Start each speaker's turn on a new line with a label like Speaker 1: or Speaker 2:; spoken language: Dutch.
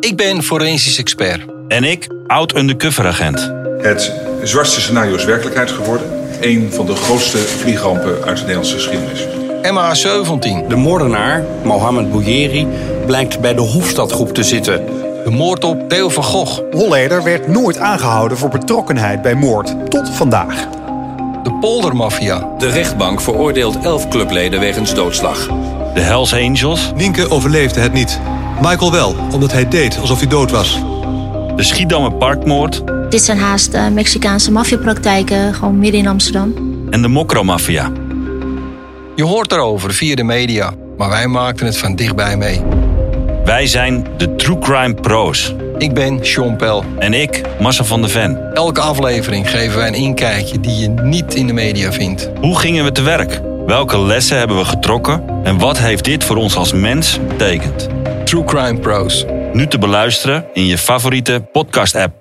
Speaker 1: Ik ben forensisch expert.
Speaker 2: En ik, oud-undercover-agent.
Speaker 3: Het zwartste scenario is werkelijkheid geworden. Een van de grootste vliegrampen uit de Nederlandse geschiedenis.
Speaker 1: MH17.
Speaker 4: De moordenaar, Mohamed Bouyeri, blijkt bij de Hofstadgroep te zitten.
Speaker 1: De moord op Theo van Gogh.
Speaker 5: Holleder werd nooit aangehouden voor betrokkenheid bij moord. Tot vandaag.
Speaker 1: De poldermafia.
Speaker 6: De rechtbank veroordeelt elf clubleden wegens doodslag.
Speaker 2: De Hells Angels.
Speaker 7: Nienke overleefde het niet. Michael wel, omdat hij deed alsof hij dood was.
Speaker 2: De Schiedammer Parkmoord.
Speaker 8: Dit zijn haast eh, Mexicaanse maffiapraktijken, gewoon midden in Amsterdam.
Speaker 2: En de Mokromafia.
Speaker 1: Je hoort erover via de media. Maar wij maakten het van dichtbij mee.
Speaker 2: Wij zijn de True Crime Pro's.
Speaker 1: Ik ben Sean Pel.
Speaker 2: En ik, Marcel van der Ven.
Speaker 1: Elke aflevering geven wij een inkijkje die je niet in de media vindt.
Speaker 2: Hoe gingen we te werk? Welke lessen hebben we getrokken? En wat heeft dit voor ons als mens betekend?
Speaker 1: True Crime Pros.
Speaker 2: Nu te beluisteren in je favoriete podcast-app.